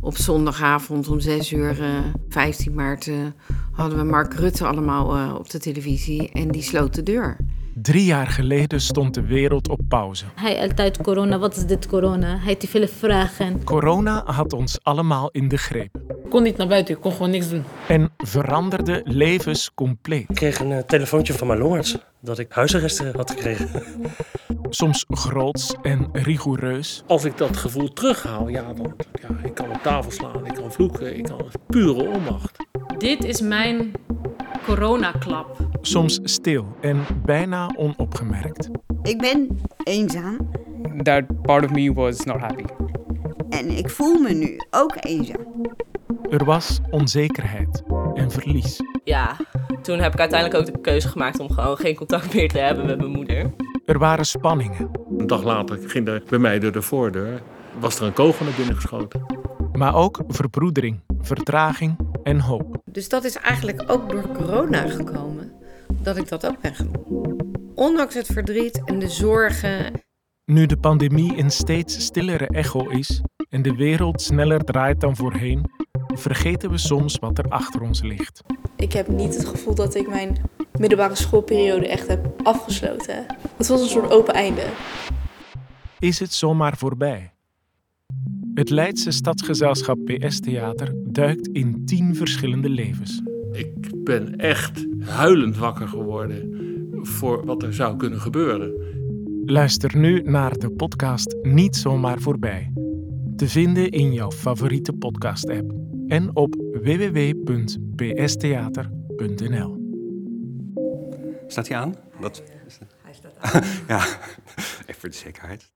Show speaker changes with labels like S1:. S1: op zondagavond om 6 uur, eh, 15 maart, eh, hadden we Mark Rutte allemaal eh, op de televisie en die sloot de deur.
S2: Drie jaar geleden stond de wereld op pauze.
S3: Hij altijd corona, wat is dit corona? Hij te veel vragen.
S2: Corona had ons allemaal in de greep
S4: Ik kon niet naar buiten, ik kon gewoon niks doen.
S2: en veranderde levens compleet.
S5: Ik kreeg een eh, telefoontje van mijn longarts dat ik huisarrest eh, had gekregen.
S2: Soms groots en rigoureus,
S6: Als ik dat gevoel terughaal, ja, dan ja, ik kan op tafel slaan, ik kan vloeken, ik kan pure onmacht.
S7: Dit is mijn coronaklap.
S2: soms stil en bijna onopgemerkt.
S8: Ik ben eenzaam
S4: That part of me was not happy.
S8: en ik voel me nu ook eenzaam.
S2: Er was onzekerheid en verlies.
S9: Ja, toen heb ik uiteindelijk ook de keuze gemaakt om gewoon geen contact meer te hebben met mijn moeder.
S2: Er waren spanningen,
S6: Een dag later ging er bij mij door de voordeur, was er een kogel naar binnen geschoten.
S2: maar ook verbroedering, vertraging en hoop.
S1: Dus dat is eigenlijk ook door corona gekomen dat ik dat ook ben gaan doen. Ondanks het verdriet en de zorgen.
S2: Nu de pandemie een steeds stillere echo is en de wereld sneller draait dan voorheen, vergeten we soms wat er achter ons ligt.
S10: Ik heb niet het gevoel dat ik mijn middelbare schoolperiode echt heb afgesloten. Het was een soort open einde.
S2: is het zomaar voorbij. Het Leidse stadsgezelschap PS Theater duikt in tien verschillende levens.
S6: Ik ben echt huilend wakker geworden voor wat er zou kunnen gebeuren.
S2: Luister nu naar de podcast Niet Zomaar Voorbij. Te vinden in jouw favoriete podcast-app en op www.pstheater.nl.
S11: Staat hij aan? Wat? Hij staat aan. ja, even voor de zekerheid.